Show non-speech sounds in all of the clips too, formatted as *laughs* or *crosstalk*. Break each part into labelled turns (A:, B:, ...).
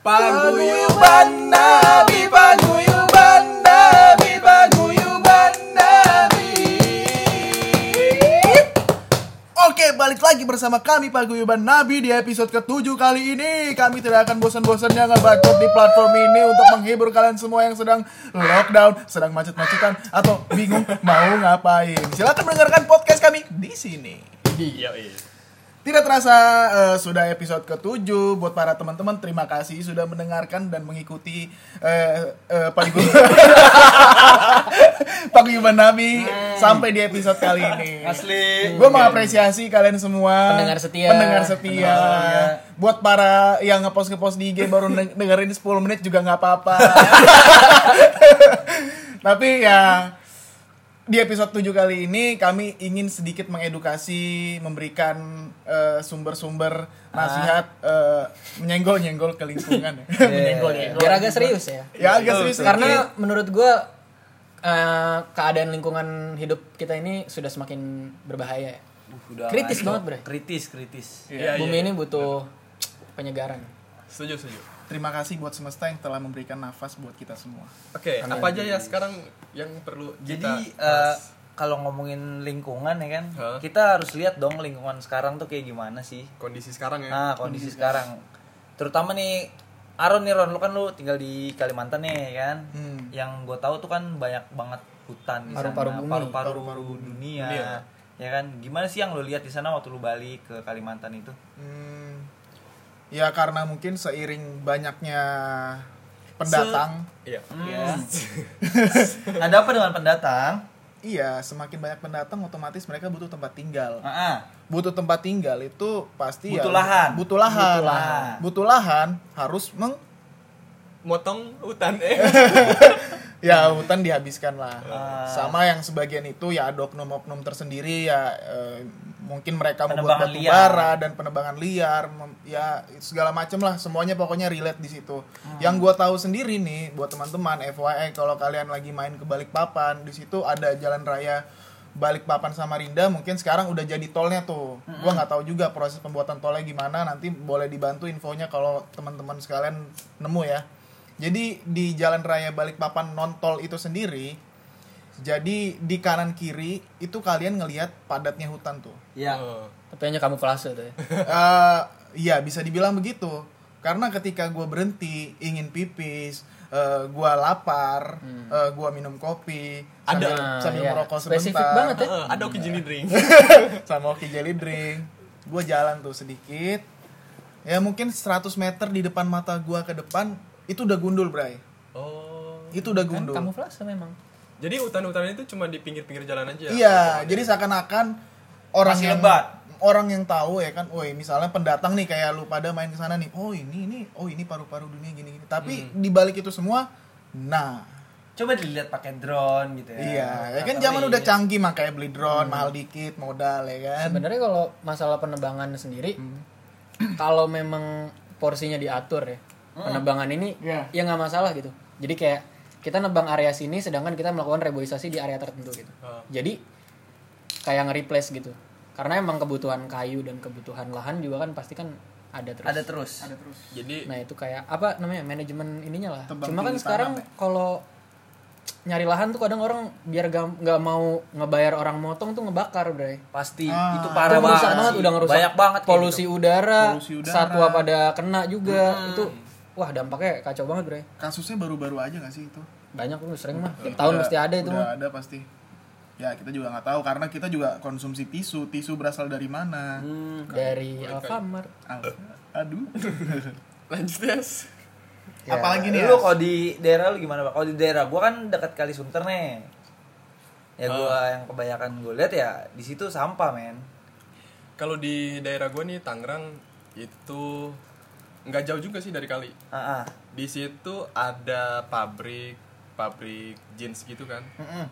A: Paguyuban Nabi, paguyuban Nabi, paguyuban Nabi. Oke, balik lagi bersama kami Paguyuban Nabi di episode ketujuh kali ini. Kami tidak akan bosan-bosannya ngebacot di platform ini untuk menghibur kalian semua yang sedang lockdown, sedang macet-macetan, atau bingung mau ngapain. Silahkan mendengarkan podcast kami di sini.
B: Iya, iya.
A: Tidak terasa eh, sudah episode ketujuh buat para teman-teman terima kasih sudah mendengarkan dan mengikuti eh eh,
B: *laughs*
A: Paguyuban Paguyuban Nabi sampai di episode kali ini.
B: Asli.
A: Gue mengapresiasi kalian semua
C: Pendengar setia.
A: Pendengar setia Buat para yang ngepost ngepost di IG baru neng- dengerin 10 menit juga nggak
C: *laughs*
A: apa-apa Tapi ya di episode 7 kali ini kami ingin sedikit mengedukasi, memberikan eh, sumber-sumber
C: Ah.
A: nasihat eh, menyenggol-nyenggol ke lingkungan ya. *laughs* menyenggol ya.
C: Biar agak serius ya.
A: Ya agak serius sedikit.
C: Iya. Karena menurut gue eh, keadaan lingkungan hidup kita ini sudah semakin berbahaya. ya. kritis banget bre.
B: Kritis, kritis.
C: Bumi ini butuh penyegaran.
D: Setuju, setuju.
A: terima kasih buat semesta yang telah memberikan nafas buat kita semua.
D: Oke, apa aja ya sekarang yang perlu
B: Jadi
D: kita
B: eh, kalau ngomongin lingkungan ya kan,
D: Hah?
B: kita harus lihat dong lingkungan sekarang tuh kayak gimana sih.
D: kondisi sekarang ya?
B: Nah, kondisi sekarang. Terutama nih Aron nih Ron, lu kan lu tinggal di Kalimantan nih ya kan.
A: Hmm.
B: Yang gue tahu tuh kan banyak banget hutan di sana,
C: Paru-paru bumi.
B: paru-paru dunia. Ya kan, gimana sih yang lu lihat di sana waktu lu balik ke Kalimantan itu?
A: Hmm, ya karena mungkin seiring banyaknya pendatang,
D: Iya.
B: Ya. Ada apa dengan pendatang?
A: iya semakin banyak pendatang otomatis mereka butuh tempat tinggal.
B: Ah, ah.
A: Butuh tempat tinggal itu pasti
B: Butuh
A: ya,
B: lahan.
A: Butuh lahan.
B: Butuh lahan.
A: Butuh lahan harus meng
D: Motong
B: *laughs*
D: hutan eh.
B: Iya.
A: ya hutan dihabiskan lah.
B: Ah.
A: Sama yang sebagian itu ya ada oknum-oknum tersendiri ya eh, mungkin mereka membuat
B: Penebangan
A: batu
B: liar.
A: bara dan penebangan liar mem- ya segala macem lah semuanya pokoknya relate di situ. Yang gua tahu sendiri nih buat teman-teman FYI kalau kalian lagi main ke Balikpapan di situ ada jalan raya Balikpapan Samarinda mungkin sekarang udah jadi tolnya tuh. Gua nggak tahu juga proses pembuatan tolnya gimana nanti boleh dibantu infonya kalau teman-teman sekalian nemu ya. Jadi di jalan raya Balikpapan non tol itu sendiri jadi di kanan kiri itu kalian ngelihat padatnya hutan tuh.
B: Ya.
D: Oh.
C: Tapi hanya kamu pelase tuh ya.
A: Eh, Iya bisa dibilang begitu. Karena ketika gue berhenti ingin pipis, eh, gue lapar, eh, gue minum kopi, sambil,
C: Hmm. Ada.
A: sambil
C: Iya.
A: merokok sebentar,
C: Spesifik banget ya.
D: Eh, ada oke jini drink.
A: *laughs*
B: Iya.
A: sama Oki Jelly Drink. Gue jalan tuh sedikit, ya mungkin 100 meter di depan mata gue ke depan itu udah gundul Bray,
D: Oh.
A: itu udah
C: Kan
A: gundul.
C: kamu pelase memang.
D: Jadi hutan-hutan itu cuma di pinggir-pinggir jalan aja.
A: Iya, jadi seakan-akan orang
B: Masih
A: yang
B: lebat.
A: orang yang tahu ya kan, woi misalnya pendatang nih kayak lu pada main ke sana nih, oh ini ini, oh ini paru-paru dunia gini-gini. Tapi di balik itu semua, nah,
B: Coba dilihat pakai drone gitu ya.
A: iya, ya kan zaman udah canggih makanya beli drone mahal dikit modal ya kan.
C: Sebenarnya kalau masalah penebangan sendiri, *clears throat* kalau memang porsinya diatur ya, penebangan ini
A: Iya.
C: ya nggak masalah gitu. Jadi kayak kita nebang area sini, sedangkan kita melakukan reboisasi di area tertentu gitu.
D: Ah.
C: Jadi kayak nge-replace gitu. Karena emang kebutuhan kayu dan kebutuhan lahan juga kan pasti kan ada terus.
B: Ada terus.
D: Jadi
C: Nah itu kayak apa namanya manajemen ininya lah.
A: Tebang
C: Cuma kan
A: pilih
C: sekarang
A: tanam
C: kalau nyari lahan tuh kadang orang biar gam- nggak mau ngebayar orang motong tuh ngebakar, Bray.
B: Pasti
A: Ah.
C: Itu
B: itu parah
C: merusak
B: banget.
C: banget
B: sih.
C: udah ngerusak
B: Banyak banget kayak gitu.
C: polusi udara,
A: Polusi udara.
C: satwa pada kena juga
B: Hmm.
C: itu wah dampaknya kacau banget bre
A: Kasusnya baru-baru aja gak sih itu?
C: banyak lu sering mah tiap tahun
A: Udah-
C: mesti ada itu mah
A: Udah ada pasti. Ya kita juga nggak tahu karena kita juga konsumsi tisu, tisu berasal dari mana?
C: Hmm.
B: Hmm.
C: dari Alfamart
A: Ah, *laughs* Aduh.
D: lanjut yes.
A: Apalagi nih ya? As?
B: Lu kalau di daerah lu gimana, Pak? Kalau di daerah gua kan dekat Kali Sunter nih. Ya gua yang kebanyakan gua lihat ya di situ sampah, men.
D: Kalau di daerah gua nih Tangerang itu nggak jauh juga sih dari kali.
B: Ah, ah.
D: Di situ ada pabrik pabrik jeans gitu kan.
B: Mm-mm.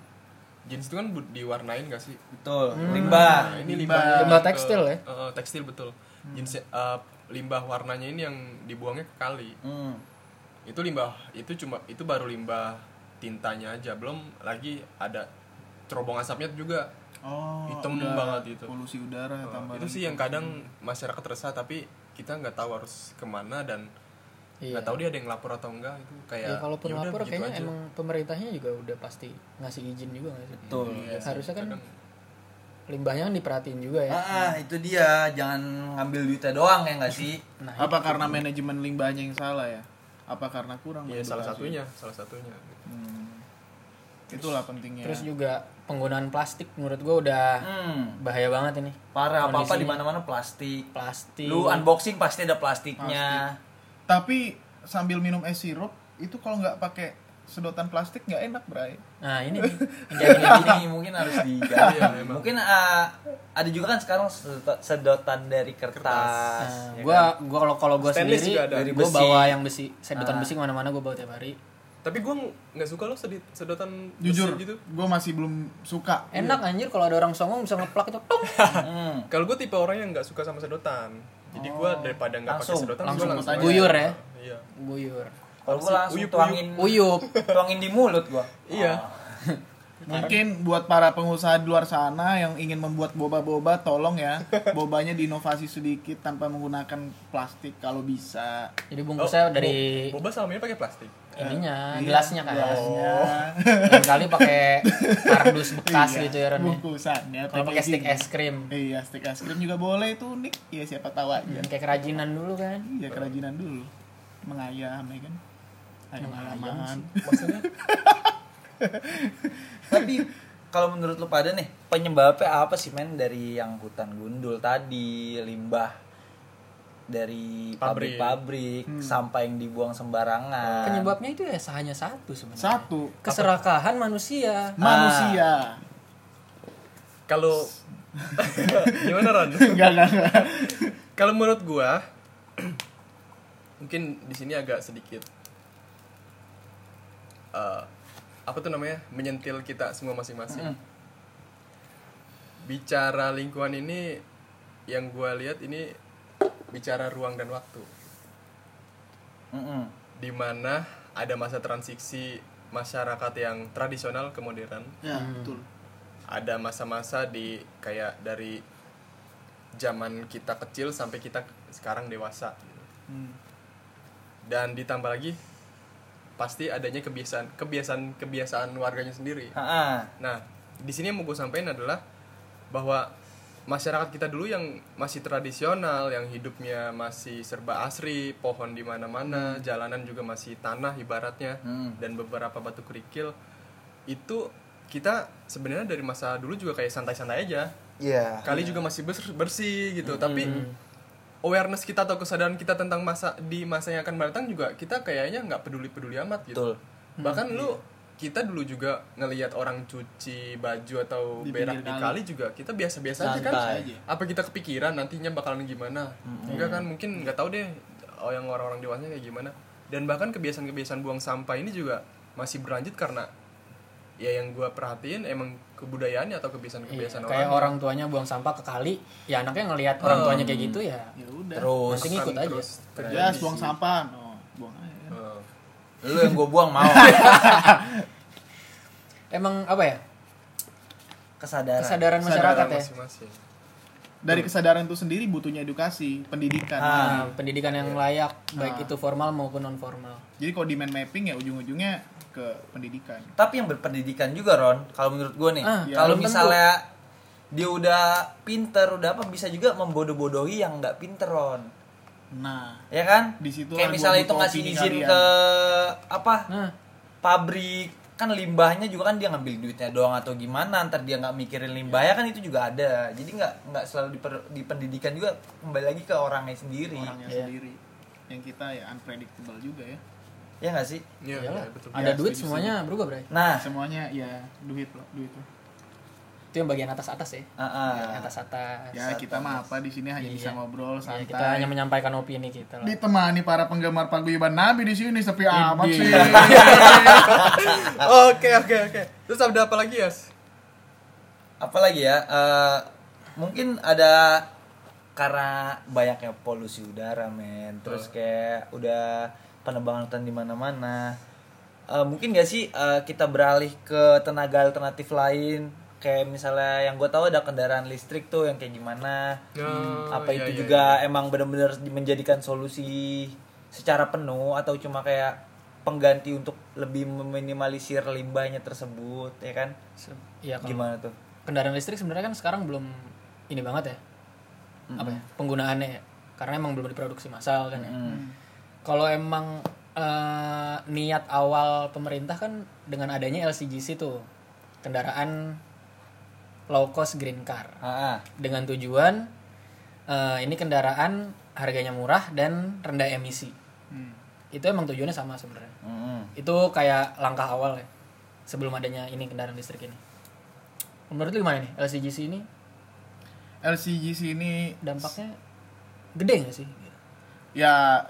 D: Jeans itu kan bu- diwarnain gak sih?
B: Betul. Limbah.
D: Nah, ini
A: Limbah.
D: limbahnya
C: Limbah
D: ke-
C: tekstil ya?
D: Eh, eh, tekstil betul. Jeans eh, limbah warnanya ini yang dibuangnya ke kali.
B: Hmm.
D: Itu limbah itu cuma itu baru limbah tintanya aja, belum lagi ada cerobong asapnya juga.
A: Oh, Iya,
D: Hitam
A: udah
D: banget itu.
A: Polusi udara
D: Eh,
A: tambah.
D: itu sih yang kadang masyarakat resah tapi kita nggak tahu harus kemana dan nggak
B: ya.
D: tahu dia ada yang lapor atau enggak itu kayak
C: Iya. Ya, kalaupun
D: yaudah,
C: lapor
D: begitu
C: kayaknya
D: aja.
C: emang pemerintahnya juga udah pasti ngasih izin juga nggak sih?
B: Betul.
D: Iya sih,
C: Harusnya kan
D: kadang-
C: limbahnya kan diperhatiin juga ya.
B: Ah, itu dia. Jangan ngambil duitnya doang ya nggak sih?
A: apa karena manajemen limbahnya yang salah ya apa karena kurang
D: Iya salah
A: mengedukasi?
D: satunya, salah satunya.
A: itulah pentingnya
C: Terus juga penggunaan plastik menurut gua udah
B: iya. Hmm.
C: bahaya banget ini.
B: Parah apa-apa
C: Kondisinya.
B: di mana-mana plastik.
C: Plastik.
B: Lu unboxing pasti ada plastiknya.
A: tapi sambil minum es sirup itu kalau nggak pakai sedotan plastik nggak enak bray
C: Nah, ini nih.
A: *laughs*
B: Jadi gini mungkin harus diganti.
D: Iya, memang.
B: mungkin ah, ada juga kan sekarang sedot- sedotan dari kertas.
C: Nah,
B: ya
C: gua gua kalau kalau gua
D: Stainless juga
C: sendiri
D: ada.
B: Dari
C: gua
B: besi.
C: bawa yang besi, sedotan besi kemana mana gua bawa tiap hari.
D: Tapi gue nggak suka loh sedit, sedotan besi
A: jujur
D: gitu.
A: gue masih belum suka
C: Enak anjir kalau ada orang songong bisa ngeplak itu tong.
B: kan? Hmm.
D: Kalau gue tipe orang yang nggak suka sama sedotan. Jadi gue daripada nggak pakai
B: Langsung,
D: sedotan,
A: Oh. langsung
D: gue langsung
A: tanya.
C: Guyur ya.
D: Iya.
C: Guyur.
B: Kalau gua langsung
D: Uyup-uyup.
B: tuangin
C: Uyup.
B: tuangin di mulut
C: Oh,
B: gua.
D: Iya.
A: mungkin buat para pengusaha di luar sana yang ingin membuat boba-boba tolong
D: *laughs*
A: ya bobanya diinovasi sedikit tanpa menggunakan plastik kalau bisa
C: Jadi
D: Oh,
C: bungkusnya dari
D: bo- boba selama ini pakai plastik.
C: ininya,
A: Iya.
C: gelasnya kan.
A: gelasnya
D: Oh.
C: Lain kali pakai kardus bekas
A: Iya,
C: gitu ya Ron. ya.
A: bungkusannya
C: Kalau pakai stick
A: packaging.
C: es krim.
A: iya stick es krim juga boleh itu unik ya siapa tahu aja
C: Kayak kerajinan dulu kan.
A: iya kerajinan dulu mengayam ya kan ayam ayaman
D: Maksudnya
B: Tapi kalau menurut lu pada nih penyebabnya apa sih men dari yang hutan gundul tadi, limbah dari
D: Pabrik.
B: pabrik-pabrik sampai yang dibuang sembarangan.
C: Penyebabnya itu ya hanya satu sebenarnya.
A: satu
C: Keserakahan manusia.
A: manusia *laughs*
D: kalau *laughs* gimana Ron?
A: enggak enggak enggak
D: Kalau menurut gua *clears throat* mungkin di sini agak sedikit eh, apa tuh namanya? menyentil kita semua masing-masing. Bicara lingkungan ini yang gua lihat ini bicara ruang dan waktu.
B: Mm-mm.
D: Di mana ada masa transisi masyarakat yang tradisional ke modern.
A: ya
C: Hmm.
A: betul
D: Ada masa-masa di kayak dari zaman kita kecil sampai kita sekarang dewasa gitu.
A: Hmm.
D: dan ditambah lagi pasti adanya kebiasaan kebiasaan kebiasaan warganya sendiri
B: Ha-ha.
D: nah di sini yang mau gue sampaikan adalah bahwa masyarakat kita dulu yang masih tradisional yang hidupnya masih serba asri pohon di mana-mana jalanan juga masih tanah ibaratnya
B: Hmm.
D: dan beberapa batu kerikil itu kita sebenarnya dari masa dulu juga kayak santai-santai aja
B: Iya.
D: kali juga masih bers- bersih gitu
B: Hmm.
D: tapi awareness kita atau kesadaran kita tentang masa di masa yang akan datang juga kita kayaknya nggak peduli peduli amat gitu
B: Betul. Hmm.
D: bahkan lu kita dulu juga ngelihat orang cuci baju atau
A: Di
D: berak
A: pinggir
D: di
A: kali.
D: kali juga kita biasa-biasa aja kan
B: Santai. Hmm.
A: Biasa aja.
D: apa kita kepikiran nantinya bakalan gimana enggak kan mungkin nggak tahu deh oh, yang orang-orang dewasa kayak gimana dan bahkan kebiasaan-kebiasaan buang sampah ini juga masih berlanjut karena ya yang gua perhatiin emang kebudayaannya atau kebiasaan-kebiasaan
C: Iya,
A: Iya,
C: Kayak orang tuanya buang sampah ke kali, ya anaknya ngelihat orang tuanya kayak gitu ya.
A: ya udah
B: Terus
C: Nanti ngikut aja.
D: terus terjadi
A: ya buang
D: sih.
A: sampah no buang aja
D: Eh,
B: lu yang gue buang mau
C: Emang apa ya?
B: kesadaran.
C: Kesadaran masyarakat
D: kesadaran
C: ya.
D: masing-masing.
A: dari kesadaran itu sendiri butuhnya edukasi pendidikan
C: Nah, pendidikan
A: iya.
C: yang layak,
A: Nah.
C: baik itu formal maupun non formal.
A: Jadi kalau demand mapping ya ujung-ujungnya ke pendidikan.
B: Tapi yang berpendidikan juga Ron, kalau menurut gue nih,
C: Ah,
B: kalau
C: belum tentu.
B: misalnya dia udah pinter, udah apa bisa juga membodoh-bodohi yang nggak pinter Ron,
A: Nah,
B: ya kan?
A: Di situ
B: Kayak
A: lah
B: misalnya
A: gua
B: itu
A: butuh
B: ngasih
A: opini
B: izin
A: kalian.
B: ke apa
C: Nah,
B: pabrik kan limbahnya juga kan dia ngambil duitnya doang atau gimana ntar dia nggak mikirin limbahnya kan itu juga ada jadi nggak nggak selalu diper- dipendidikan juga kembali lagi ke orangnya
C: Iya.
B: sendiri
A: orangnya sendiri yang kita ya unpredictable juga ya.
B: ya nggak sih
D: Iya,
C: iyalah.
D: iya, betul.
C: ada
A: Ya,
C: duit
A: setuju,
C: semuanya berubah, Bray.
B: nah
A: Semuanya ya duit loh, duit loh.
C: Itu yang bagian atas-atas ya.
B: ah, ah.
C: Yang atas-atas.
A: Ya kita mah apa di sini hanya
C: Iya.
A: bisa ngobrol
C: Ya,
A: santai.
C: kita hanya menyampaikan opini kita lah.
A: Ditemani para penggemar paguyuban Nabi di sini sepi amat sih.
C: *laughs*
B: Ah.
D: Oke, oke, oke. Terus ada apa lagi, Yas?
B: apalagi ya eh, mungkin ada karena banyaknya polusi udara men terus kayak udah penebangan hutan di mana-mana Eh, mungkin gak sih eh, kita beralih ke tenaga alternatif lain kayak misalnya yang gue tahu ada kendaraan listrik tuh yang kayak gimana
D: Oh,
B: Hmm, apa
D: iya,
B: itu
D: iya,
B: juga emang benar-benar menjadikan solusi secara penuh atau cuma kayak pengganti untuk lebih meminimalisir limbahnya tersebut ya kan
C: Iya kalau
B: gimana tuh
C: kendaraan listrik sebenarnya kan sekarang belum ini banget ya apa ya penggunaannya ya karena emang belum diproduksi massal kan ya kalau emang eh, niat awal pemerintah kan dengan adanya LCGC tuh kendaraan low cost green car
B: Ah, ah.
C: dengan tujuan eh, ini kendaraan harganya murah dan rendah emisi
A: Hmm.
C: itu emang tujuannya sama sebenarnya
B: Mm-mm.
C: itu kayak langkah awal ya sebelum adanya ini kendaraan listrik ini menurut lu gimana nih LCGC ini
A: LCGC ini
C: dampaknya gede nggak sih
A: ya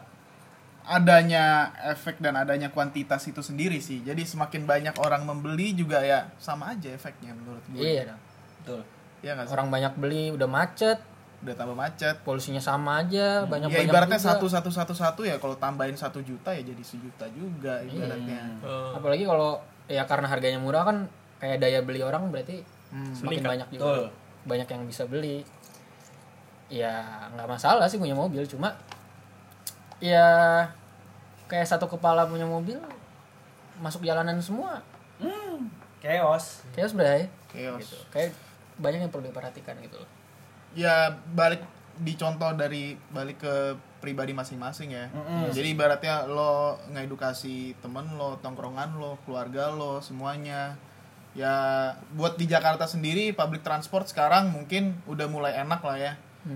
A: adanya efek dan adanya kuantitas itu sendiri sih. Jadi semakin banyak orang membeli juga ya sama aja efeknya menurut gue.
C: iya dong
B: betul
A: Iya nggak sih?
C: orang banyak beli udah macet
A: Udah tambah macet.
C: polusinya sama aja banyak
A: Ya
C: banyak
A: ibaratnya
C: juga.
A: satu satu satu satu ya kalau tambahin satu juta ya jadi sejuta juga ibaratnya.
D: Oh.
C: apalagi kalau ya karena harganya murah kan kayak daya beli orang berarti
A: Hmm.
C: Iya. semakin banyak juga
B: Betul.
C: banyak yang bisa beli ya nggak masalah sih punya mobil cuma ya kayak satu kepala punya mobil masuk jalanan semua
B: chaos
C: kayak sebenarnya
A: Chaos.
C: kayak banyak yang perlu diperhatikan gitu loh
A: ya balik dicontoh dari balik ke pribadi masing-masing ya. Jadi ibaratnya lo ngedukasi temen lo, tongkrongan lo, keluarga lo, semuanya. Ya buat di Jakarta sendiri public transport sekarang mungkin udah mulai enak lah ya.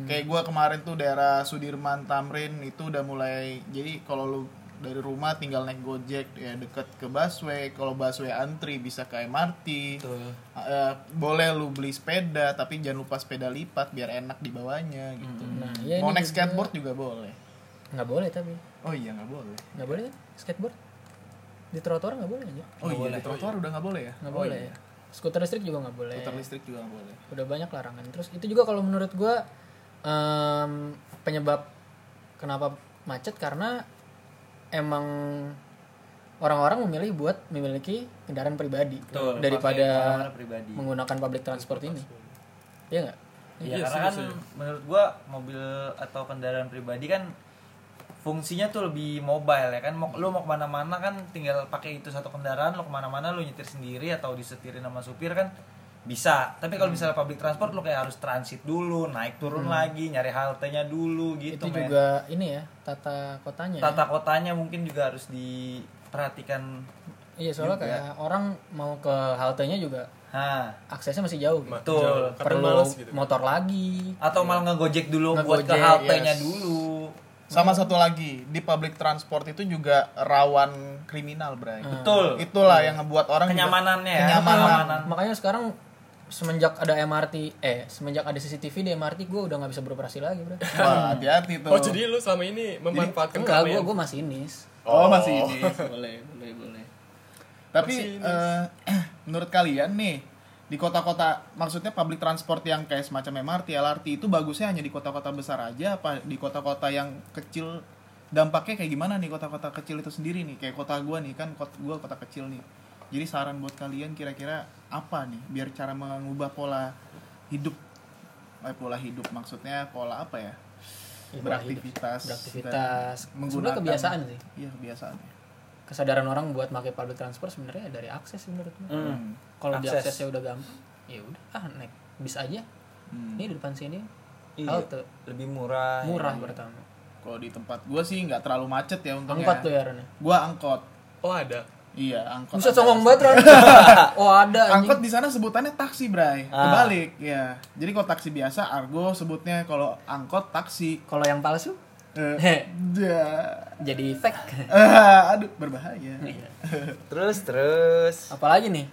A: Kayak gua kemarin tuh daerah Sudirman Tamrin itu udah mulai jadi kalau lo dari rumah tinggal naik Gojek ya deket ke busway, kalau busway antri bisa ke MRT. Eh, boleh lu beli sepeda tapi jangan lupa sepeda lipat biar enak dibawanya gitu.
C: nah ya
A: Mau
C: ini
A: naik skateboard juga boleh.
C: nggak boleh tapi
A: Oh iya nggak boleh.
C: nggak boleh kan? skateboard di trotoar nggak boleh aja
A: Oh iya di trotoar udah nggak boleh ya?
C: nggak boleh ya skuter listrik juga nggak boleh
A: Skuter listrik juga nggak boleh.
C: udah banyak larangan terus itu juga kalau menurut gue penyebab kenapa macet karena emang orang-orang memilih buat memiliki kendaraan pribadi
B: Betul,
C: daripada
B: pakai kendaraan pribadi.
C: menggunakan public transport ini iya nggak
B: ya karena kan menurut gua mobil atau kendaraan pribadi kan fungsinya tuh lebih mobile ya kan mau lu mau kemana-mana kan tinggal pakai itu satu kendaraan lu kemana-mana lu nyetir sendiri atau disetirin sama supir kan bisa tapi
C: Hmm.
B: kalau misalnya public transport lu kayak harus transit dulu naik turun lagi nyari haltenya dulu gitu
C: itu
B: men.
C: juga ini ya tata kotanya ya.
B: tata kotanya mungkin juga harus diperhatikan
C: iya soalnya kayak orang mau ke haltenya juga
B: ha
C: aksesnya masih jauh gitu.
B: betul
D: Kata
C: perlu
D: males gitu.
B: kan.
C: motor lagi
B: atau malah ngegojek dulu buat ke
C: Ngegojek,
B: haltenya
A: yes.
B: dulu
A: Sama satu lagi di public transport itu juga rawan kriminal, Bray.
B: betul
A: Itulah yang ngebuat orang juga-
B: Kenyamanannya ya,
A: Kenyamanan.
B: kenyamanan.
C: Nah, makanya sekarang semenjak ada MRT eh semenjak ada CCTV di MRT gue udah nggak bisa beroperasi lagi bro
A: Wah, hati-hati tuh.
D: Oh jadi lu selama ini memanfaatkan ya?
C: enggak
D: keahlian.
C: gue gue masih inis
A: Oh, masih ini. *laughs* boleh, boleh, boleh. Tapi eh, *clears throat* menurut kalian nih di kota-kota maksudnya public transport yang kayak semacam MRT, LRT itu bagusnya hanya di kota-kota besar aja apa di kota-kota yang kecil dampaknya kayak gimana nih kota-kota kecil itu sendiri nih kayak kota gua nih kan kota gua kota kecil nih. Jadi saran buat kalian kira-kira apa nih biar cara mengubah pola hidup eh, pola hidup maksudnya pola apa ya?
C: Ya, pola hidup.
A: Beraktivitas,
C: beraktivitas
A: dan
C: sebenarnya kebiasaan sih
A: Iya, kebiasaan.
C: kesadaran orang buat pakai public transport sebenarnya dari akses sih menurut gue
B: Hmm.
C: kalau
B: Akses.
C: diaksesnya udah gampang ya udah ah naik bis aja
A: Hmm.
C: ini di depan sini
B: Iya.
C: halte
B: lebih murah
C: murah pertama
A: Kalau di tempat gue sih nggak terlalu macet ya untungnya.
C: angkot tuh ya Ren
A: Gue angkot.
D: Oh ada.
A: Iya angkot.
C: Buset
A: ada.
C: songong banget Ren oh ada anjing. Ah.
A: Angkot di sana sebutannya taksi, Bray. Kebalik, ya. Jadi kalau taksi biasa argo sebutnya kalau angkot taksi.
C: kalau yang palsu *laughs*
A: Eh,
C: Heh.
A: ja-
C: jadi fake
A: Eh, *laughs* aduh berbahaya.
C: Iya.
B: terus terus
C: apalagi nih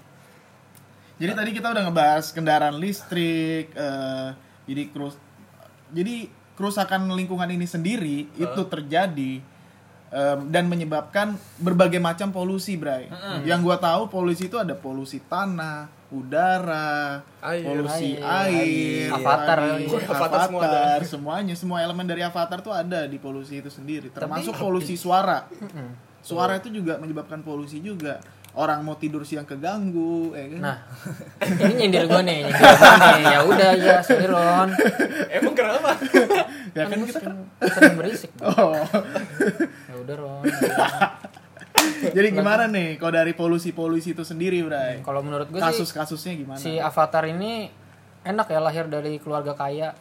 A: Jadi tadi kita udah ngebahas kendaraan listrik, eh, jadi kerus, jadi kerusakan lingkungan ini sendiri itu terjadi em, dan menyebabkan berbagai macam polusi, Bray. Yang gua tahu polusi itu ada polusi tanah, udara,
D: Air.
A: polusi air,
C: Air. Avatar.
A: tadi,
D: Wih,
A: avatar,
D: avatar semua ada.
A: *laughs* semuanya, semua elemen dari avatar tuh ada di polusi itu sendiri, termasuk polusi suara. Suara itu juga menyebabkan polusi juga. Orang mau tidur siang keganggu, ya kan?
C: Nah, ini nyindir gue nih. nyindir gua nih. Ya udah ya, sorry Ron.
D: *laughs* Emang kenapa?
A: ya kan
C: Kan gua
A: kita
C: sering, sering berisik.
A: oh
C: Ya
A: Jadi gimana nih kalau dari polusi-polusi itu sendiri, Bray?
C: Kalau menurut gue sih
A: Kasus-kasusnya gimana?
C: si Avatar ini enak ya lahir dari keluarga kaya.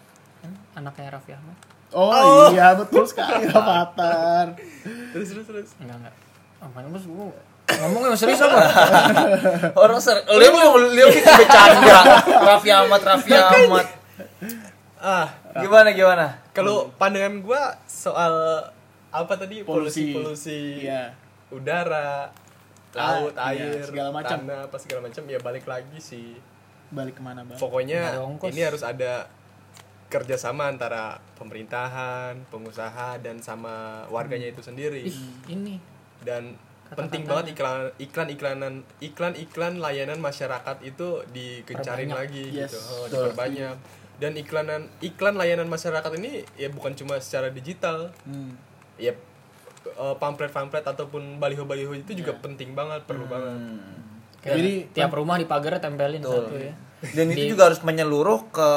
C: Anaknya Raffi Ahmad.
A: Oh, iya betul sekali Avatar.
D: terus terus terus
C: Enggak enggak. Oh, mana bos gua ngomong yang serius apa?
B: Orang ser, lu mau lu bikin bercanda. Raffi Ahmad, Raffi Ahmad.
D: ah
B: Gimana gimana?
D: kalau pandangan gua soal apa tadi
A: Polusi.
D: polusi polusi
A: Iya.
D: udara
A: Ah,
D: laut
A: iya,
D: air
A: segala macam.
D: tanah apa segala macam ya balik lagi sih
A: Balik kemana, Bang?
D: pokoknya
C: Ada ongkos.
D: ini harus ada kerjasama antara pemerintahan pengusaha dan sama warganya itu sendiri
C: Hmm. Ih, ini.
D: dan penting banget iklan iklan iklanan iklan iklan layanan masyarakat itu dikecarin lagi
A: Yes,
D: gitu Oh, diperbanyak dan iklanan iklan layanan masyarakat ini ya bukan cuma secara digital
A: Hmm.
D: ya eh, pamflet-pamflet ataupun baliho-baliho itu juga
C: Iya.
D: penting banget perlu
C: Hmm.
D: banget
C: Kayak
A: Jadi,
C: tiap rumah di pagarnya tempelin satu ya.
B: Dan itu juga harus menyeluruh ke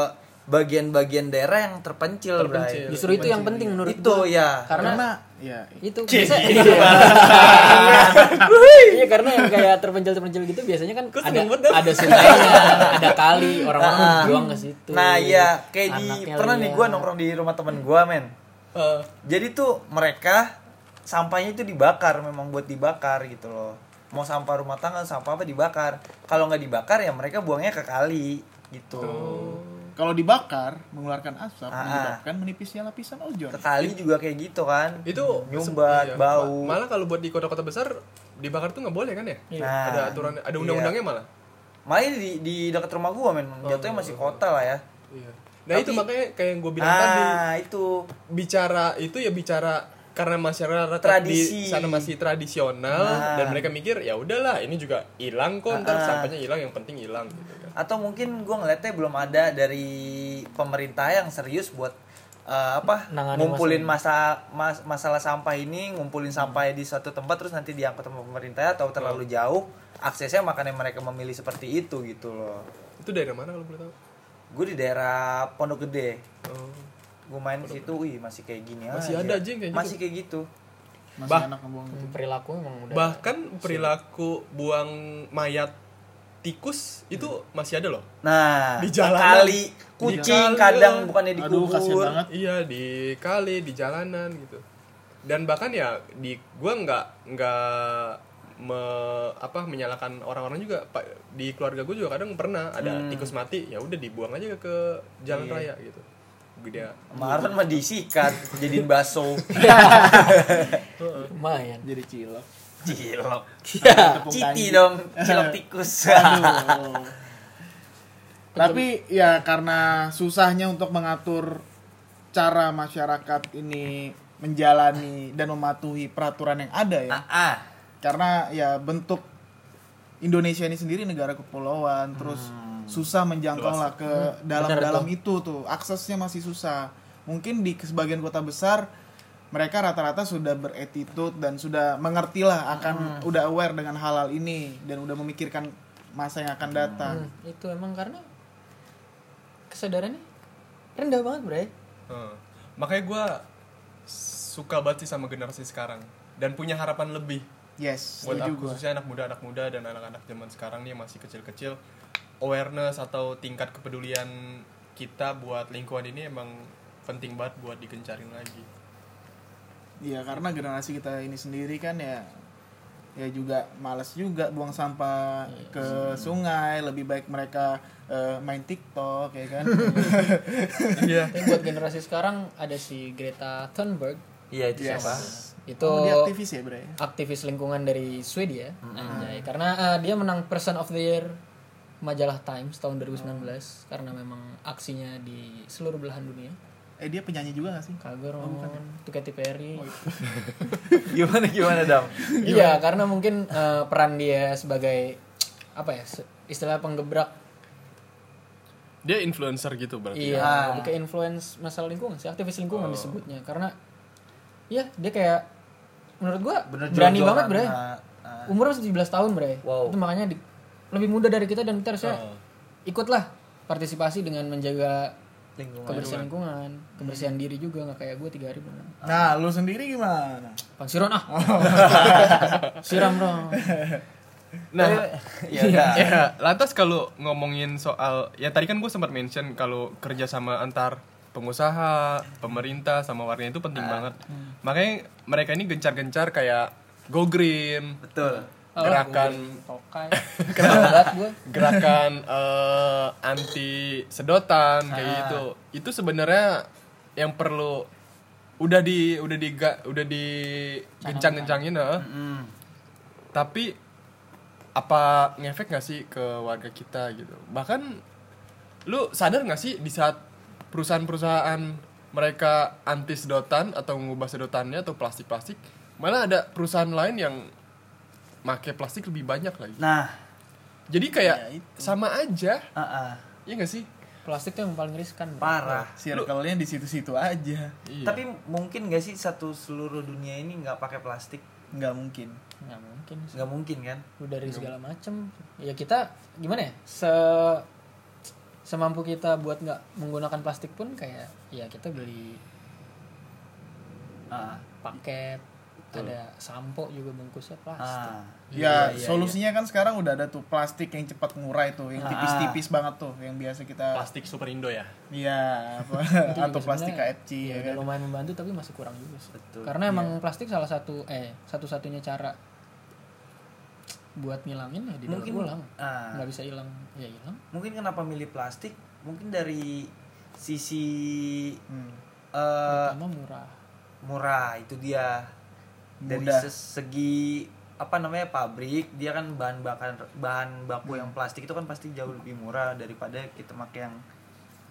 B: bagian-bagian daerah yang terpencil,
D: Terpencil.
B: Bray.
C: Justru itu yang penting menurut
B: Iya, Itu
C: gua.
B: ya.
C: Karena,
A: Ya,
C: itu biasa iya karena yang kayak terpencil terpencil gitu biasanya kan ada ada sungainya ada kali orang-orang buang ke situ
B: Nah, iya, kayak di
C: Anaknya
B: pernah nih
C: liar.
B: gua nongkrong di rumah temen gua, men.
D: Eh,
B: Jadi tuh mereka sampahnya itu dibakar, memang buat dibakar gitu loh. Mau sampah rumah tangga, sampah apa dibakar. Kalau nggak dibakar ya mereka buangnya ke kali gitu.
D: Oh.
A: kalau dibakar mengeluarkan asap
B: Ah.
A: menyebabkan menipisnya lapisan ozon.
B: Ke kali juga kayak gitu kan.
D: itu iya.
B: nyumbat, bau.
D: Ma- malah kalau buat di kota-kota besar dibakar tuh nggak boleh kan ya
B: Nah,
D: ada aturan ada undang-undangnya malah
B: Malah ini di, di dekat rumah gua men, jatuhnya masih kota lah ya.
D: iya. nah itu makanya kayak yang gue bilang tadi
B: Nah, itu.
D: bicara itu ya bicara karena masyarakat di
B: Tradisi. Nah.
D: sana masih tradisional dan mereka mikir ya udahlah ini juga hilang kok ntar
B: Ah.
D: sampahnya hilang yang penting hilang gitu kan
B: Atau mungkin gua ngeliatnya belum ada dari pemerintah yang serius buat eh, apa
C: Nangani
B: ngumpulin masa mas- masalah sampah ini ngumpulin sampah di suatu tempat terus nanti diangkut sama pemerintah atau terlalu jauh aksesnya makanya mereka memilih seperti itu gitu loh
D: itu daerah mana kalau boleh tahu
B: gue di daerah Pondok Gede
D: oh.
B: gue main ke situ wih masih kayak gini
D: Masih
B: aja.
D: ada, Jing, kayak gitu.
B: masih kayak gitu
A: Masih anak ngebuang gitu.
C: perilaku emang udah
D: bahkan perilaku buang mayat tikus itu masih ada loh
B: nah
D: Di
B: di
D: jalanan.
B: kali
D: Di kali,
B: kucing kadang
D: ya.
B: bukannya
A: Aduh, kasihan
B: dikubur
A: banget.
D: iya di kali di jalanan gitu dan bahkan ya di gua nggak nggak me- apa menyalahkan orang-orang juga pak di keluarga gue juga kadang pernah ada tikus mati ya udah dibuang aja ke jalan raya gitu gede
B: kemarin mah disikat jadiin
D: *laughs*
B: baso
C: lumayan
A: Jadi cilok.
B: cilok
A: Tepung
B: citi
A: kanji.
B: dong cilok tikus
A: Aduh. Tapi ya karena susahnya untuk mengatur cara masyarakat ini menjalani dan mematuhi peraturan yang ada ya.
B: ah, ah.
A: Karena ya bentuk Indonesia ini sendiri negara kepulauan, terus
D: Hmm.
A: susah menjangkau lah ke dalam-dalam itu tuh. Aksesnya masih susah. Mungkin di sebagian kota besar mereka rata-rata sudah beretitut dan sudah mengertilah akan
D: Hmm.
A: udah aware dengan halal ini dan udah memikirkan masa yang akan datang.
D: Hmm.
C: itu emang karena kesadarannya rendah banget bray
D: Heeh. makanya gua suka banget sih sama generasi sekarang dan punya harapan lebih
A: Yes,
D: buat
A: setuju
D: aku,
A: gua.
D: khususnya anak muda anak muda dan anak-anak zaman sekarang nih yang masih kecil-kecil awareness atau tingkat kepedulian kita buat lingkungan ini emang penting banget buat digencarin lagi
A: Iya, karena generasi kita ini sendiri kan ya ya juga males juga buang sampah ke sungai, lebih baik mereka eh, main TikTok ya kan.
D: *laughs* iya
C: Tapi buat generasi sekarang ada si Greta Thunberg
B: iya itu siapa
C: itu
A: Oh, dia aktivis ya, Bre.
C: aktivis lingkungan dari Swedia Anjay. karena eh, dia menang Person of the Year majalah Times tahun 2019 karena memang aksinya di seluruh belahan dunia
A: Eh dia penyanyi juga gak sih?
C: Kagor ngomong itu Katy Perry
B: gimana gimana dam
C: *laughs* iya karena mungkin eh, peran dia sebagai apa ya se- istilah penggebrak
D: dia influencer gitu berarti
C: iya ke influence masalah lingkungan sih aktivis lingkungan disebutnya karena iya dia kayak menurut gua berani
B: jor-joran,
A: kan?
C: banget bre
B: nah,
A: Um,
C: umurnya 17 tahun bre
B: Wow.
C: itu
D: Oh.
C: makanya di- lebih muda dari kita dan kita harusnya ikutlah partisipasi dengan menjaga
B: lingkungan
C: kebersihan lingkungan kebersihan diri juga nggak kayak gue tiga hari belum
A: Nah, lu sendiri gimana?
C: pansiron ah *laughs* siram dong
D: Nah,
B: ya
D: *laughs*
B: udah
D: ya, lantas kalau ngomongin soal ya tadi kan gue sempat mention kalau kerjasama antar pengusaha, pemerintah sama warga itu
A: Ah.
D: penting banget. Makanya mereka ini gencar-gencar kayak Go Green,
B: betul
A: Oh,
D: gerakan
C: tokai *laughs* berat gue
D: gerakan eh, anti sedotan kayak gitu itu sebenarnya yang perlu udah di udah di udah di gencang-gencangin eh.
B: Mm.
D: tapi apa ngefek nggak sih ke warga kita gitu bahkan lu sadar nggak sih di saat perusahaan-perusahaan mereka anti sedotan atau mengubah sedotannya atau plastik-plastik malah ada perusahaan lain yang make plastik lebih banyak lagi
B: nah
D: jadi kayak sama aja,
B: ah, ah.
D: iya gak sih?
C: plastik tuh yang paling riskan bro.
B: parah
A: Circle-nya di situ-situ aja.
D: Iya.
B: tapi mungkin gak sih satu seluruh dunia ini nggak pakai plastik
A: Nggak mungkin.
C: nggak mungkin sih.
B: nggak mungkin kan
C: Udah dari segala macem ya kita gimana ya se semampu kita buat nggak menggunakan plastik pun kayak ya kita beli
B: ah,
C: paket ada sampo juga bungkusnya plastik
B: ah.
A: Ya, solusinya kan sekarang udah ada tuh plastik yang cepat ngurai tuh, yang tipis-tipis banget tuh, yang biasa kita
D: plastik super Indo ya.
A: Iya, apa
C: Itu juga
A: atau plastik
C: sebenarnya
A: KFC
C: ya
A: ya
C: udah
A: kan.
C: lumayan membantu tapi masih kurang juga sih
B: Betul,
C: karena emang plastik salah satu eh satu-satunya cara buat ngilangin ya didaur
B: Mungkin-
C: ulang
B: ah.
C: nggak bisa hilang ya hilang
B: mungkin kenapa milih plastik mungkin dari sisi
A: Hmm.
B: eh,
C: sama murah
B: murah itu dia dari
A: Mudah.
B: se- segi apa namanya pabrik dia kan bahan bakar bahan baku yang plastik itu kan pasti jauh lebih murah daripada kita pakai yang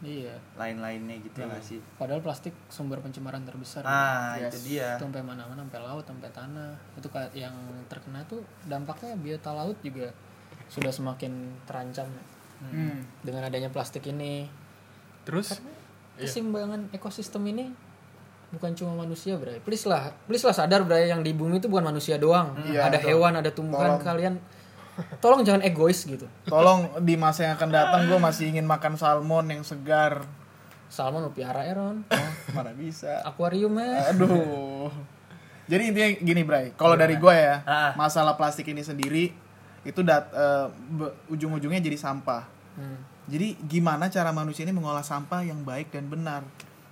C: iya
B: lain-lainnya gitu ya nggak sih
C: padahal plastik sumber pencemaran terbesar
B: nah
A: Yes.
B: itu dia
C: itu sampai mana-mana sampai laut sampai tanah itu ka- yang terkena tuh dampaknya biota laut juga sudah semakin terancam
A: Hmm.
C: dengan adanya plastik ini
D: Terus
A: Iya.
C: keseimbangan ekosistem ini bukan cuma manusia bray please lah please lah sadar bray yang di bumi itu bukan manusia doang
A: Iya,
C: ada hewan ada tumbuhan kalian tolong jangan egois gitu
A: Tolong di masa yang akan datang gue masih ingin makan salmon yang segar. Oh,
C: salmon lu piara Eron
A: Mana bisa.
C: akuarium ya
A: Aduh. Jadi intinya gini, Bray. Kalau dari gue ya,
B: Ah.
A: masalah plastik ini sendiri itu dat eh, be- ujung-ujungnya jadi sampah.
C: Hmm.
A: Jadi gimana cara manusia ini mengolah sampah yang baik dan benar?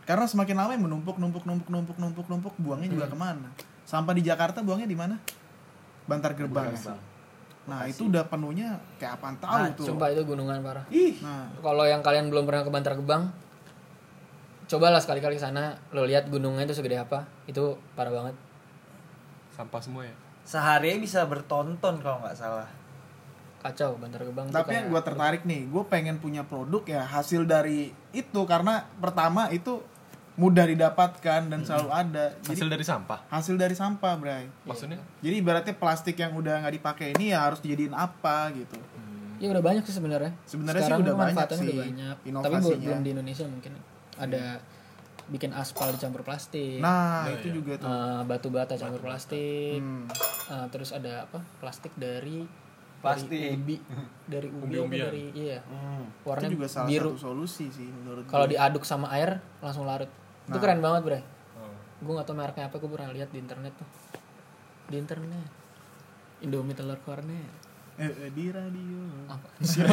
A: Karena semakin lama yang menumpuk, numpuk, numpuk, numpuk, numpuk, numpuk, buangnya juga kemana? Sampah di Jakarta buangnya di mana? Bantar Gerbang. ya? Nah itu udah penuhnya kayak apaan tahu tuh.
C: Nah, coba itu gunungan parah
B: ih
A: Nah,
C: kalau yang kalian belum pernah ke Bantar Gebang cobalah sekali-kali ke sana lo lihat gunungnya itu segede apa itu parah banget
D: sampah semua ya.
B: sehari bisa bertonton kalau nggak salah
C: kacau Bantar Gebang kan. tuh
A: tapi
C: kayak-
A: yang gue tertarik nih, gue pengen punya produk ya hasil dari itu karena pertama itu mudah didapatkan dan selalu ada. Jadi
D: Hasil dari sampah.
A: hasil dari sampah, Bray.
D: Maksudnya?
A: Jadi ibaratnya plastik yang udah nggak dipakai ini ya harus dijadiin apa gitu.
C: ya udah banyak sih sebenarnya
A: Sebenarnya sih
C: Sekarang
A: udah banyak
C: manfaatannya
A: sih,
C: udah banyak. tapi
A: inovasinya.
C: bu- belum di Indonesia mungkin ada bikin aspal dicampur plastik
A: Nah, itu juga tuh.
C: eh, batu bata campur plastik
A: Hmm.
C: eh, terus ada apa plastik dari dari
B: Plastik.
C: ubi dari ubi apa
D: Umbi-umbian.
C: dari iya
B: hmm.
C: warna
A: itu juga salah
C: biru
A: satu solusi sih menurut
C: kalau
A: gue.
C: diaduk sama air langsung larut itu
A: Nah.
C: keren banget bre
B: Oh.
C: gue gak tau mereknya apa gue pernah lihat di internet tuh di internet Indomie telur kornet
A: Eh, eh, di radio.
C: apa
A: Iya.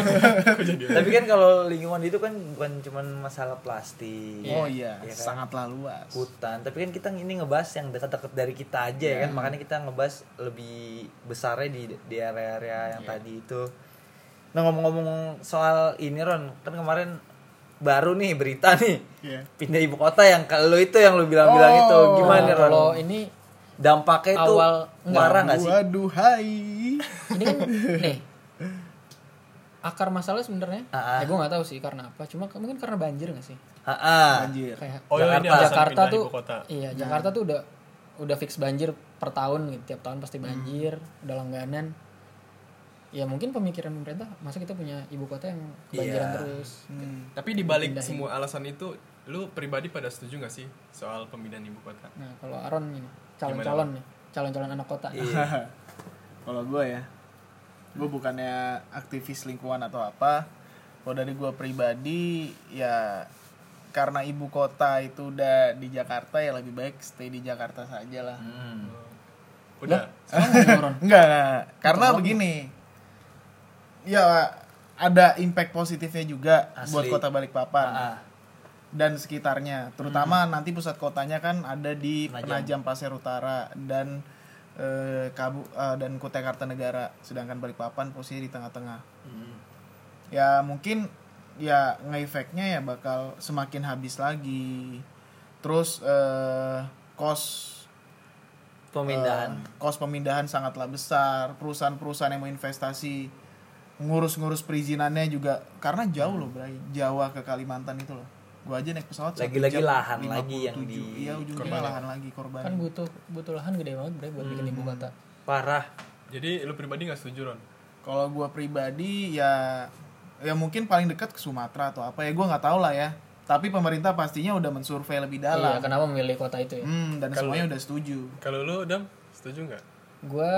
B: tapi kan kalau lingkungan itu kan bukan cuman masalah plastik
A: Oh iya,
B: Iya kan?
A: sangatlah luas.
B: hutan tapi kan kita ini ngebahas yang dekat-dekat dari kita aja
C: Iya.
B: ya kan makanya kita ngebahas lebih besarnya di di area-area yang
C: Iya.
B: tadi itu nah ngomong-ngomong soal ini Ron kan kemarin baru nih berita nih
A: Iya.
B: pindah ibu kota yang kalau itu yang lu bilang-bilang itu gimana nih,
C: Oh. Eh,
B: Ron
C: kalau ini
B: dampaknya itu
C: awal
B: marah nggak sih
A: Waduh, hai.
C: ini kan nih akar masalah sebenarnya
B: Ah, ah.
C: ya gue nggak tahu sih karena apa cuma ke- mungkin karena banjir nggak sih
B: Ha-ha.
A: Anjir.
C: kayak
D: Oh, iya, ini
C: Jakarta,
D: alasan
C: Jakarta
D: pindah
C: tuh
D: ibu kota.
B: Nah.
C: iya Jakarta tuh udah udah fix banjir per tahun gitu tiap tahun
B: Hmm.
C: pasti banjir udah langganan ya mungkin pemikiran pemerintah masa kita punya ibu kota yang
B: Iya.
C: kebanjiran terus
A: Hmm.
D: Tapi dibalik semua alasan itu, lu pribadi pada setuju gak sih soal pemindahan ibu kota?
C: nah kalau Aaron ini calon-calon nih calon-calon anak kota
B: Iya.
A: Kalau gue ya, gue bukannya aktivis lingkungan atau apa. Kalau dari gue pribadi, ya karena ibu kota itu udah di Jakarta ya lebih baik stay di Jakarta saja lah.
B: Hmm.
D: Udah.
C: Sekarang udah turun.
B: *laughs*
A: Enggak, enggak, enggak. karena begini. Ya ada impact positifnya juga
B: Asli.
A: buat kota Balikpapan
B: Ah, ah.
A: dan sekitarnya. Terutama nanti pusat kotanya kan ada di Penajam, Pasir Utara dan eh, Kabu eh, dan Kutai Kartanegara, sedangkan Balikpapan posisi di tengah-tengah. Ya mungkin ya ngefeknya ya bakal semakin habis lagi. Terus eh kos
C: Ah.
B: Pemindahan.
A: Eh, kos pemindahan sangatlah besar. Perusahaan-perusahaan yang mau investasi ngurus-ngurus perizinannya juga karena jauh loh, Bray. Jawa ke Kalimantan itu loh. Gua aja naik pesawat satu
B: Lagi-lagi
A: jam
B: lahan lagi yang
A: 57.
B: di-
A: Iya, ujungnya lahan lagi korban.
C: Kan butuh butuh lahan gede banget bre
B: Hmm.
C: buat bikin ibu kota.
B: Parah.
D: Jadi lu pribadi nggak setuju Ron?
A: Kalau gua pribadi ya ya mungkin paling dekat ke Sumatera atau apa ya gua nggak tahu lah ya. Tapi pemerintah pastinya udah mensurvei lebih
C: Iya,
A: dalam.
C: kenapa memilih kota itu ya?
A: Hmm, dan semuanya udah setuju.
D: Kalau lu Dam, setuju nggak?
C: Gua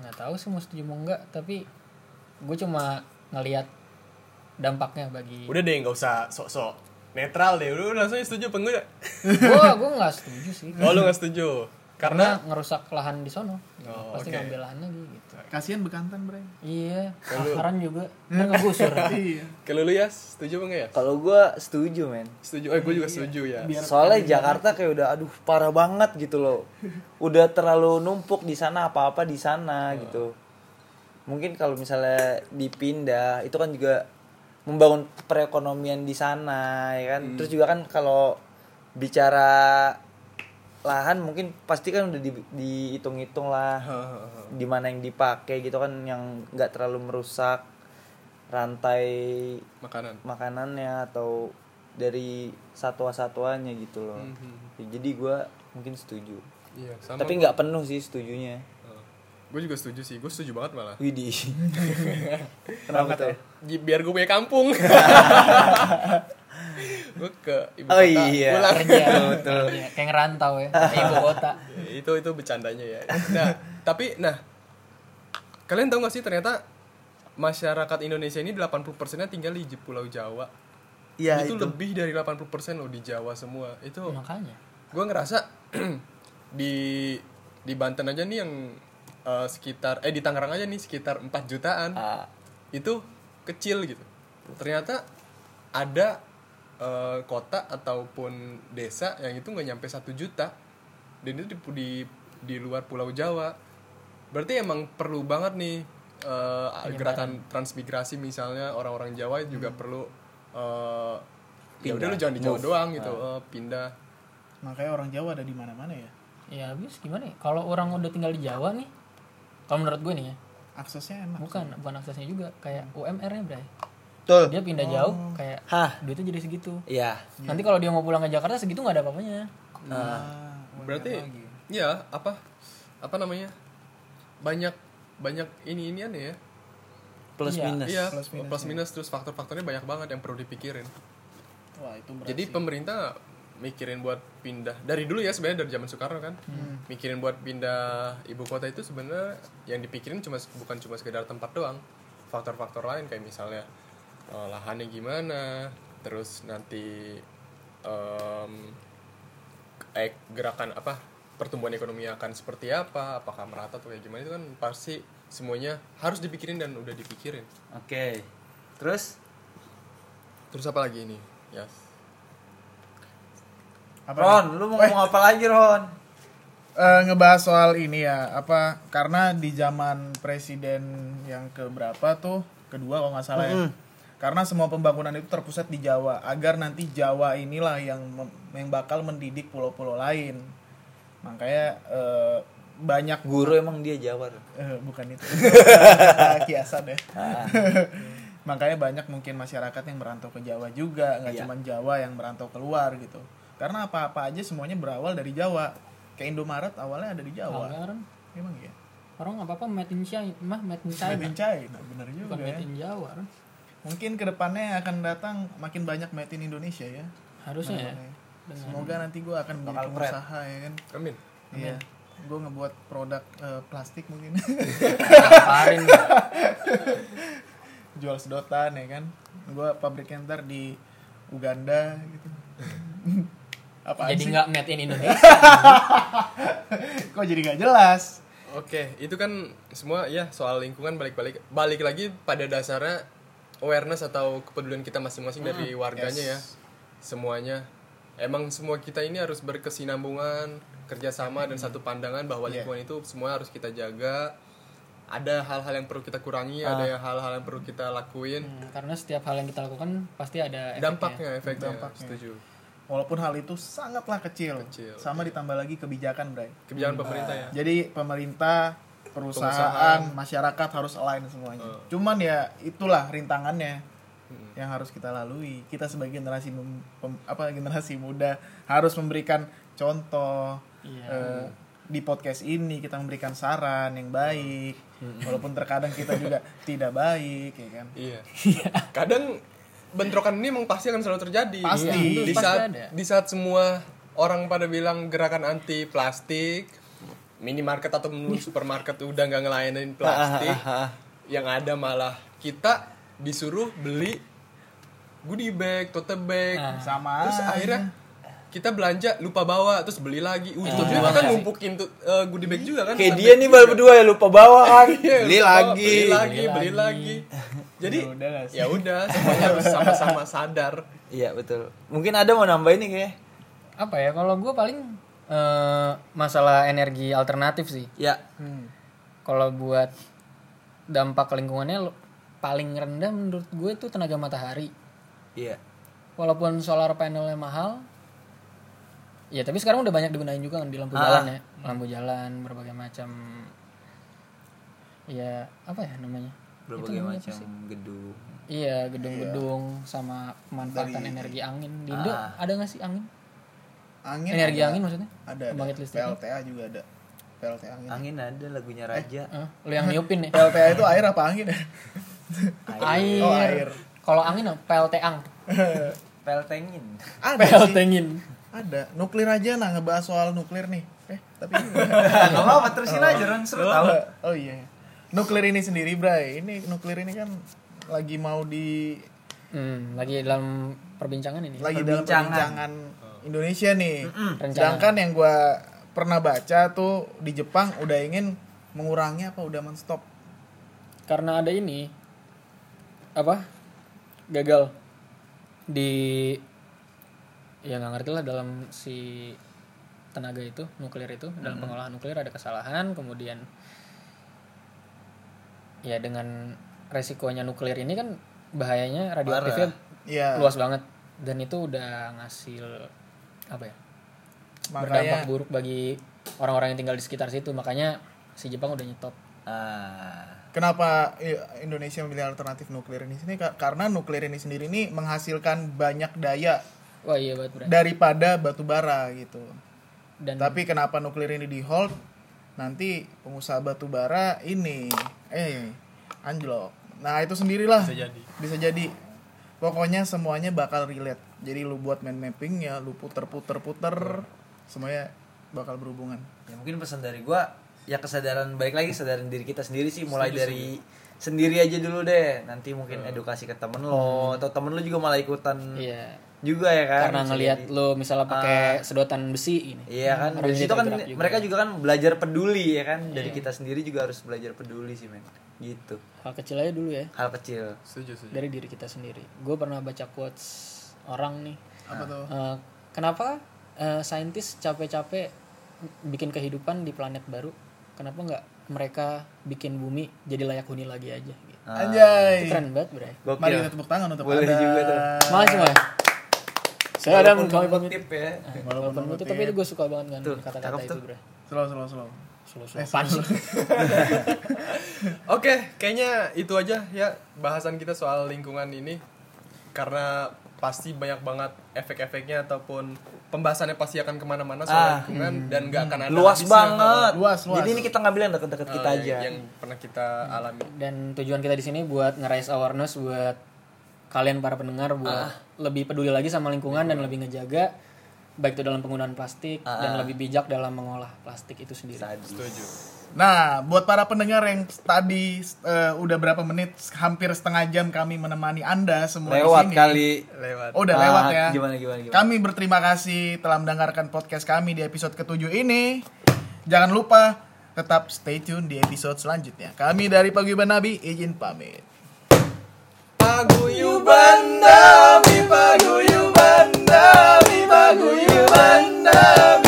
C: nggak tahu sih mau setuju mau enggak, tapi gue cuma ngelihat dampaknya bagi
D: Udah deh nggak usah sok-sok netral deh. Lu langsung setuju apa enggak?
C: gua gua nggak setuju sih
D: *laughs* Oh lu nggak setuju? Karena
C: karena ngerusak lahan di sono Ya,
D: Oh,
C: pasti
D: oke. Ya,
C: ngambil lahan lagi gitu
A: Kasihan bekantan, Bray.
C: iya sasaran
D: *laughs*
C: juga kan ngegusur
A: *laughs* Iya.
D: kalau lu ya setuju apa enggak ya?
B: Kalau gua setuju, men.
D: Setuju. Eh gue juga setuju ya.
B: Soalnya Jakarta kayak udah aduh parah banget gitu loh. Udah terlalu numpuk di sana apa-apa di sana gitu. Mungkin kalau misalnya dipindah itu kan juga membangun perekonomian di sana ya kan. Terus juga kan kalau bicara lahan mungkin pasti kan udah di- dihitung-hitung lah di mana yang dipakai gitu kan yang nggak terlalu merusak rantai
D: *laughs* Makanan.
B: makanannya atau dari satwa-satwanya gitu loh. Ya, Jadi gua mungkin setuju.
D: Iya, Mm-hmm. sama.
B: Tapi nggak penuh sih setujunya.
D: Gue juga setuju sih. Gue setuju banget malah. *laughs*
B: Widih.
D: ya?
B: Kenapa tuh?
D: Ji- Biar gue punya
B: *laughs*
D: kampung. gue ke ibu
B: Oh
D: kota,
B: iya.
D: pulang.
C: kerja Iya, kayak ngerantau ya ke ibu kota
D: Ya, *laughs* itu itu bercandanya ya nah tapi nah kalian tahu nggak sih ternyata masyarakat Indonesia ini 80 persennya tinggal di Pulau Jawa
B: Ya,
A: Iya,
D: itu, lebih dari 80 persen loh di Jawa semua itu
C: makanya
D: gue ngerasa *clears throat* di di Banten aja nih yang eh, sekitar eh di Tangerang aja nih sekitar 4 jutaan
B: Ah,
D: itu kecil gitu ternyata ada eh, kota ataupun desa yang itu nggak nyampe satu juta dan itu di, di di luar Pulau Jawa berarti emang perlu banget nih eh, gerakan transmigrasi misalnya orang-orang Jawa juga perlu eh, ya udah lu jangan di Jawa doang gitu eh, pindah
A: Makanya orang Jawa ada di mana-mana ya.
C: ya habis gimana ya kalau orang udah tinggal di Jawa nih kalau menurut gue nih ya
A: Aksesnya enak.
C: bukan bukan aksesnya juga kayak UMR nya bray
B: Betul.
C: dia pindah jauh kayak
B: Hah.
C: duitnya jadi segitu
B: Iya.
C: nanti kalau dia mau pulang ke Jakarta segitu nggak ada apa-apanya
A: Ah,
D: berarti ya apa apa namanya banyak banyak ini inian ya
B: Plus
C: Iya.
B: minus.
D: iya plus minus, terus faktor-faktornya banyak banget yang perlu dipikirin
A: Wah, itu berat.
D: Jadi pemerintah mikirin buat pindah dari dulu ya sebenarnya dari zaman Soekarno kan mikirin buat pindah ibu kota itu sebenarnya yang dipikirin cuma bukan cuma sekedar tempat doang faktor-faktor lain kayak misalnya eh, lahannya gimana terus nanti em, eh, gerakan apa pertumbuhan ekonomi akan seperti apa apakah merata atau kayak gimana itu kan pasti semuanya harus dipikirin dan udah dipikirin
B: Oke. Terus
D: terus apa lagi ini ya
A: Apa
B: Ron, lu mau ngomong apa lagi Ron?
A: Eh, ngebahas soal ini ya apa karena di zaman presiden yang keberapa tuh kedua kalau nggak salah ya karena semua pembangunan itu terpusat di Jawa agar nanti Jawa inilah yang mem- yang bakal mendidik pulau-pulau lain makanya eh, banyak
B: Guru emang dia Jawa. Ron?
A: Eh, bukan itu kiasan ya
C: Ah.
A: makanya banyak mungkin masyarakat yang merantau ke Jawa juga
C: Iya.
A: nggak cuman Jawa yang merantau keluar gitu karena apa-apa aja semuanya berawal dari Jawa kayak Indomaret awalnya ada di Jawa
C: Anggaran
A: emang iya
C: kan, orang nggak apa-apa made in China mah made in
A: made
C: China
A: in China bener juga
C: bukan
A: ya
C: made in Jawa Ron.
A: mungkin kedepannya akan datang makin banyak made in Indonesia ya
C: harusnya ya
A: semoga nanti gue akan menjadi pengusaha ya kan
D: Amin
A: iya gue ngebuat produk eh, plastik mungkin
C: Tamparin.
A: jual sedotan ya kan gue pabriknya ntar di Uganda gitu apa
C: Jadi
A: sih
C: nggak made in Indonesia.
A: kok jadi nggak jelas
D: Oke, itu kan semua ya soal lingkungan balik-balik balik lagi pada dasarnya awareness atau kepedulian kita masing-masing dari warganya ya. Semuanya. Emang semua kita ini harus berkesinambungan, kerjasama dan satu pandangan bahwa lingkungan itu semua harus kita jaga. Ada hal-hal yang perlu kita kurangi, ada yang hal-hal yang perlu kita lakuin.
C: *laughs* Hmm, Karena setiap hal yang kita lakukan pasti ada efeknya.
D: Dampaknya, Hmm. efeknya. Setuju.
A: walaupun hal itu sangatlah kecil,
D: Kecil.
A: sama ditambah lagi kebijakan Bray
D: Kebijakan pemerintah ya.
A: jadi pemerintah perusahaan masyarakat harus align semuanya cuman ya itulah rintangannya yang harus kita lalui kita sebagai generasi mem- pem- apa generasi muda harus memberikan contoh Eh, di podcast ini kita memberikan saran yang baik walaupun terkadang kita *laughs* juga tidak baik ya kan
D: Iya. Kadang bentrokan ini emang pasti akan selalu terjadi.
A: Pasti.
D: Iya. Di
C: Pasti
D: saat
C: ada.
D: di saat semua orang pada bilang gerakan anti plastik, minimarket atau menu supermarket udah nggak ngelayanin plastik, yang ada malah kita disuruh beli goodie bag, tote bag,
A: Nah, sama
D: terus
A: aja.
D: akhirnya kita belanja lupa bawa terus beli lagi ujung-ujungnya kita ngumpukin tuh eh, goodie bag juga kan
B: Kayak
D: sampai-
B: dia nih baru berdua ya lupa bawaan.
D: *laughs* Iya,
B: Beli
D: lupa,
B: lagi.
D: beli lagi beli lagi jadi
A: Ya udah lah sih.
D: ya udah semuanya harus sama-sama sadar
B: Iya betul. Mungkin ada mau nambahin nih kayaknya.
C: Apa ya? Kalau gue paling eh, masalah energi alternatif sih.
B: Ya.
A: Hmm.
C: Kalau buat dampak lingkungannya lo- paling rendah menurut gue itu tenaga matahari.
B: Iya.
C: Walaupun solar panelnya mahal, ya tapi sekarang udah banyak digunain juga kan di lampu
A: Ah.
C: jalan ya, lampu jalan berbagai macam. Ya apa ya namanya?
B: Berbagai macam gedung.
C: Iya gedung-gedung sama pemanfaatan energi angin. Di Indo ada nggak sih angin?
A: Ah. angin
C: Energi
A: ada,
C: angin maksudnya?
A: ada, ada.
C: Pembangkit listrik.
A: PLTA juga ada PLTA angin
B: Angin ada lagunya Raja.
C: Hah? Lu
A: *laughs*
C: yang niupin nih.
A: PLTA itu air apa angin ya
C: Air.
A: Oh, air.
C: Kalau angin apa? PLT ang.
B: Peltengin.
A: ada
C: PLT
A: sih
C: angin.
A: ada nuklir aja nah ngebahas soal nuklir nih eh tapi
B: Enggak apa-apa terusin aja Ron seru tahu.
A: oh iya nuklir ini sendiri Bray ini nuklir ini kan lagi mau di
C: Hmm, lagi dalam perbincangan ini.
A: lagi dalam perbincangan Indonesia nih.
C: Rencana.
A: Sedangkan yang gua pernah baca tuh di Jepang udah ingin mengurangi apa udah menstop.
C: Karena ada ini apa? Gagal di ya nggak ngerti lah dalam si tenaga itu nuklir itu dalam pengolahan nuklir ada kesalahan kemudian ya dengan resikonya nuklir ini kan bahayanya radioaktifnya
A: Ya,
C: luas banget dan itu udah ngasil apa ya berdampak
A: makanya
C: buruk bagi orang-orang yang tinggal di sekitar situ makanya si Jepang udah nyetop
B: Ah.
A: kenapa i- Indonesia memilih alternatif nuklir ini sini Ka- karena nuklir ini sendiri ini menghasilkan banyak daya
C: wah iya banget Bray.
A: daripada batu bara gitu.
C: dan
A: Tapi kenapa nuklir ini di hold? Nanti pengusaha batu bara ini eh anjlok. Nah, itu sendirilah.
D: bisa jadi
A: bisa jadi pokoknya semuanya bakal relate jadi lu buat mind mapping ya lu puter puter puter semuanya bakal berhubungan
B: Ya mungkin pesan dari gua ya kesadaran baik lagi kesadaran diri kita sendiri sih mulai dari sendiri aja dulu deh. Nanti mungkin edukasi ke temen lo atau temen lo juga malah ikutan
C: iya
B: juga ya kan.
C: karena
B: Bisa
C: ngelihat
B: jadi.
C: lo misalnya Ah. pakai sedotan besi ini
B: Iya kan,
C: Orang
B: dari
C: jadi
B: situ kan
C: tergerak juga.
B: mereka juga kan belajar peduli ya kan, dari kita sendiri juga harus belajar peduli sih men, gitu,
C: hal kecil aja dulu ya
B: hal kecil.
D: setuju setuju
C: dari diri kita sendiri gue pernah baca quotes orang nih
A: apa tuh
C: Eh, kenapa eh, saintis capek-capek bikin kehidupan di planet baru kenapa nggak mereka bikin bumi jadi layak huni lagi aja gitu. Itu
A: anjay
C: keren banget bray
A: mari
B: Ah. Gokil.
A: kita tepuk tangan untuk
B: Boleh
A: Anda.
B: juga tuh.
C: Makasih mas. Saya Adam kami pamit.
B: Tip ya.
A: walaupun ya.
C: Walaupun itu tapi itu gue suka banget kan kata-kata itu bro.
A: slow slow slow Eh,
C: Slow-slow. Apaan sih?
D: Oke, kayaknya itu aja ya bahasan kita soal lingkungan ini karena pasti banyak banget efek-efeknya ataupun pembahasannya pasti akan kemana-mana soal lingkungan dan nggak akan ada
B: Nah, Luas
D: habisnya
B: banget.
A: Luas, luas. Oh, iya,
B: Jadi ini kita ngambil yang deket-deket
D: kalau,
B: kita
D: eh,
B: aja.
D: yang, yang pernah kita alami.
C: Dan tujuan kita di sini buat nge-raise awareness buat kalian para pendengar buat lebih peduli lagi sama lingkungan dan lebih ngejaga baik itu dalam penggunaan plastik dan lebih bijak dalam mengolah plastik itu sendiri.
B: Sadis.
D: Setuju.
A: Nah, buat para pendengar yang tadi eh, udah berapa menit, hampir setengah jam kami menemani Anda semua di
B: Lewat
A: sini.
B: kali.
D: Lewat.
A: Oh, udah
B: Ah,
A: lewat ya.
B: Gimana gimana gimana.
A: Kami berterima kasih telah mendengarkan podcast kami di episode ketujuh ini. Jangan lupa tetap stay tune di episode selanjutnya. Kami dari Paguyuban Nabi izin pamit.
B: Paguyuban dami, paguyuban dami, paguyuban dami.